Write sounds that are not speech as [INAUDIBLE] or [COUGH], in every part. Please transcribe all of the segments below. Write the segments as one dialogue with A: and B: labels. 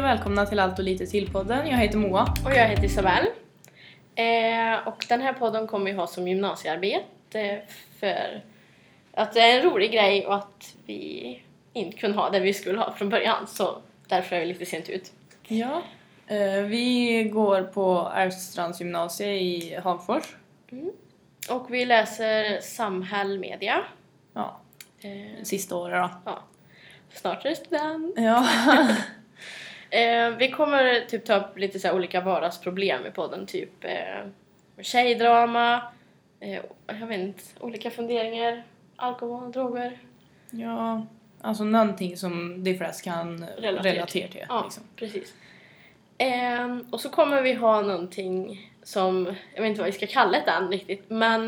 A: välkomna till Allt och lite till-podden. Jag heter Moa.
B: Och jag heter Isabelle. Eh, och den här podden kommer vi ha som gymnasiearbete för att det är en rolig grej och att vi inte kunde ha det vi skulle ha från början så därför är vi lite sent ut.
A: Ja. Eh, Vi går på Ärvstrands gymnasie i Hagfors.
B: Och vi läser samhällmedia.
A: Ja,
B: Eh,
A: sista året då.
B: ja. Snart är det student.
A: Ja.
B: Eh, vi kommer typ ta upp lite så här olika vardagsproblem i podden, typ eh, tjejdrama, eh, jag vet inte, olika funderingar, alkohol, droger.
A: [LAUGHS] ja. Alltså någonting som de flesta kan
B: Relatera
A: relatera,
B: till.
A: till.
B: Ja,
A: Liksom.
B: precis. Eh, och så kommer vi ha någonting som, jag vet inte vad vi ska kalla det än riktigt, men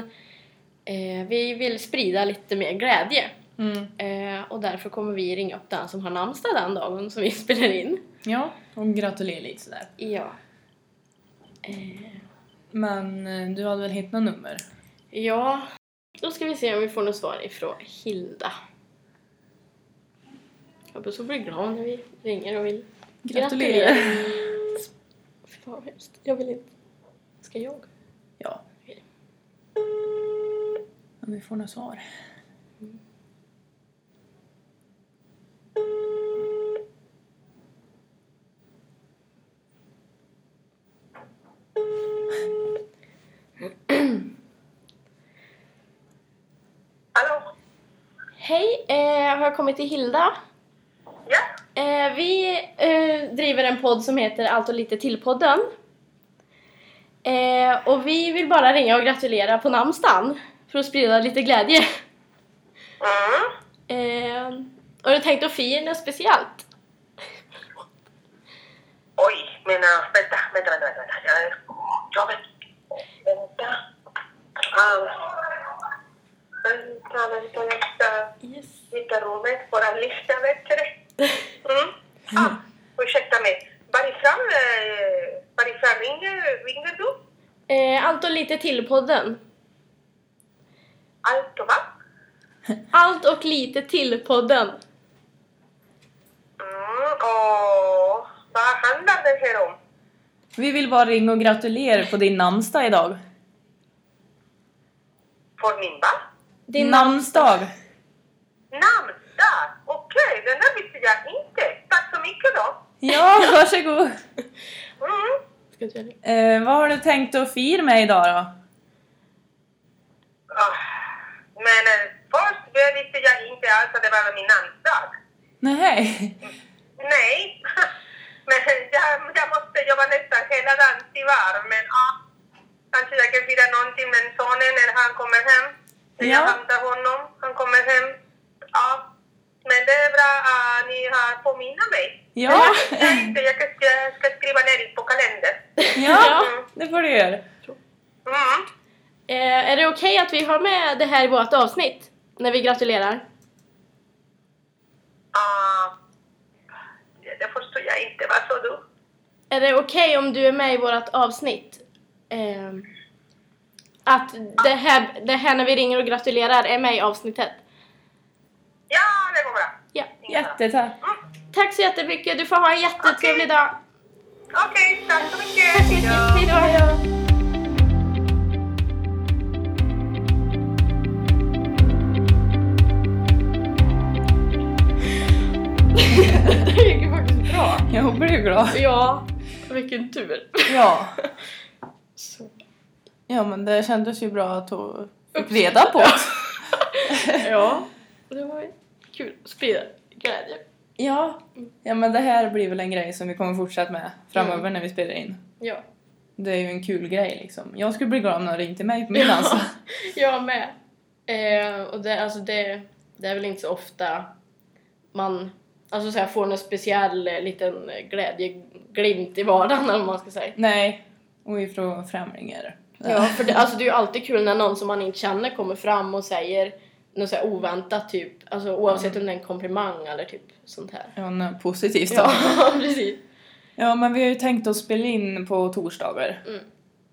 B: eh, vi vill sprida lite mer glädje.
A: Mm.
B: Eh, och därför kommer vi ringa upp den som har namnsdag den dagen som vi [LAUGHS] spelar in.
A: ja, och gratulera lite sådär.
B: Ja. Eh,
A: Men eh, du hade väl hittat något nummer?
B: Ja, då ska vi se om vi får något svar ifrån Hilda. Hoppas hon blir glad när vi ringer och vill
A: Gratulerar.
B: Fy fan vad hemskt. Jag vill inte. Ska jag?
A: Ja. Om vi får något svar.
C: Hallå?
B: Hej, eh, har jag kommit till Hilda?
C: Ja?
B: Eh, vi eh, driver en podd som heter Allt och lite till-podden. Eh, och vi vill bara ringa och gratulera på namnsdagen för att sprida lite glädje.
C: Mm.
B: Eh, har du tänkt att fira något speciellt?
C: Oj, men äh, vänta, vänta, vänta, vänta. Jag, jag vet... Vänta. Um, vänta, vänta, jag ska
B: Yes.
C: hitta rummet för att lyssna bättre. Mm. Ah, ursäkta mig. Varifrån, eh, varifrån ringer, ringer du?
B: Eh, allt och lite till-podden.
C: Allt och va?
B: Allt och lite till-podden.
C: Mm, och vad handlar det här om?
A: Vi vill bara ringa och gratulera på din namnsdag idag.
C: För min va?
A: Mm.
B: Din
A: namnsdag!
C: Namnsdag! Okej, den där visste jag inte. Tack så mycket då.
A: Ja, [LAUGHS] varsågod!
C: Mm.
B: Ska du göra det?
A: Eh, vad har du tänkt att fira med idag då?
C: Ah, Men eh, först visste jag inte alls att det var min namnsdag.
A: Nej. [LAUGHS]
C: Nej, [LAUGHS] men jag, jag måste jobba nästan hela dagen tyvärr. Men ah, kanske jag kan fira någonting med sonen när han kommer hem. När Jag
A: Ja.
C: hämtar honom, han kommer hem. Ja, men det är bra att ni har påminner mig.
A: Ja.
C: Jag, inte, jag, ska, jag ska skriva ner det på kalendern.
A: Ja, det får du göra.
C: Mm.
B: Eh, är det okej att vi har med det här i vårt avsnitt? När vi gratulerar?
C: Ah, det förstår jag inte. Vad sa du?
B: Är det okej om du är med i vårt avsnitt? Eh, att det här, det här när vi ringer och gratulerar är med i avsnittet?
C: Ja, det går bra.
B: Ja.
A: Jättetack.
B: Tack så jättemycket, du får ha en jättetrevlig dag.
C: Okej, tack så mycket.
B: Hej då. [LAUGHS] Det gick ju faktiskt bra.
A: Jag blir glad.
B: Ja, vilken tur.
A: Ja.
B: [LAUGHS] Så.
A: ja, men det kändes ju bra att du fick reda på.
B: [LAUGHS] Ja, det var kul att sprida glädje.
A: Ja. ja, men det här blir väl en grej som vi kommer fortsätta med framöver
B: Mm.
A: när vi spelar in.
B: Ja.
A: Det är ju en kul grej liksom. Jag skulle bli glad om någon ringde till mig på min namnsdag.
B: Jag med. Eh, och det, alltså det, det är väl inte så ofta man alltså så här, får någon speciell eh, liten glädjeglimt i vardagen eller vad man ska säga.
A: Nej, och ifrån främlingar.
B: Ja, för det, alltså det är ju alltid kul när någon som man inte känner kommer fram och säger något så här oväntat typ, alltså oavsett om det är en komplimang eller typ sånt här.
A: Ja, något positivt då.
B: Ja,
A: Ja.
B: [LAUGHS] precis.
A: men vi har ju tänkt att spela in på torsdagar
B: Mm.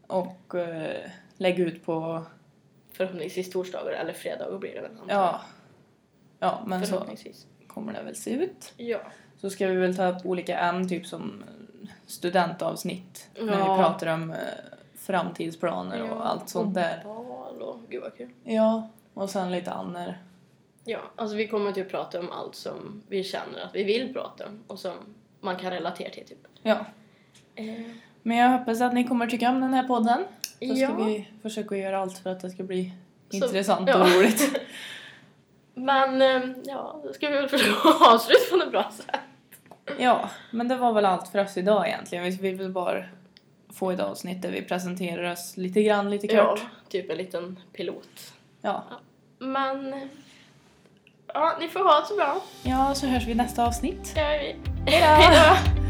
A: och eh, lägga ut på,
B: Förhoppningsvis torsdagar eller fredagar blir det väl antar jag.
A: ja, ja men så
B: Förhoppningsvis.
A: kommer det väl se ut.
B: Ja.
A: Så så ska vi väl ta upp olika ämnen, typ som studentavsnitt. När vi
B: Ja.
A: pratar om eh, framtidsplaner
B: Ja,
A: och allt sånt där.
B: Val och gud vad kul.
A: Ja, och sen lite annor.
B: Ja, alltså vi kommer typ prata om allt som vi känner att vi vill prata om och som man kan relatera till typ.
A: Ja.
B: Eh,
A: Men jag hoppas att ni kommer tycka om den här podden. Så ska
B: Ja. [LAUGHS]
A: vi försöka göra allt för att det ska bli
B: Så-
A: intressant
B: ja.
A: och
B: [LAUGHS]
A: roligt.
B: Men eh, ja, då ska vi väl försöka [LAUGHS] avsluta på något bra sätt.
A: Ja, men det var väl allt för oss idag egentligen. Vi vill väl bara få ett avsnitt där vi presenterar oss lite grann, lite
B: Ja,
A: kort.
B: typ en liten pilot.
A: Ja.
B: Men eh, ja, ni får ha det så bra.
A: ja, så hörs vi i nästa avsnitt.
B: Det gör vi.
A: Hejdå!
B: Hejdå!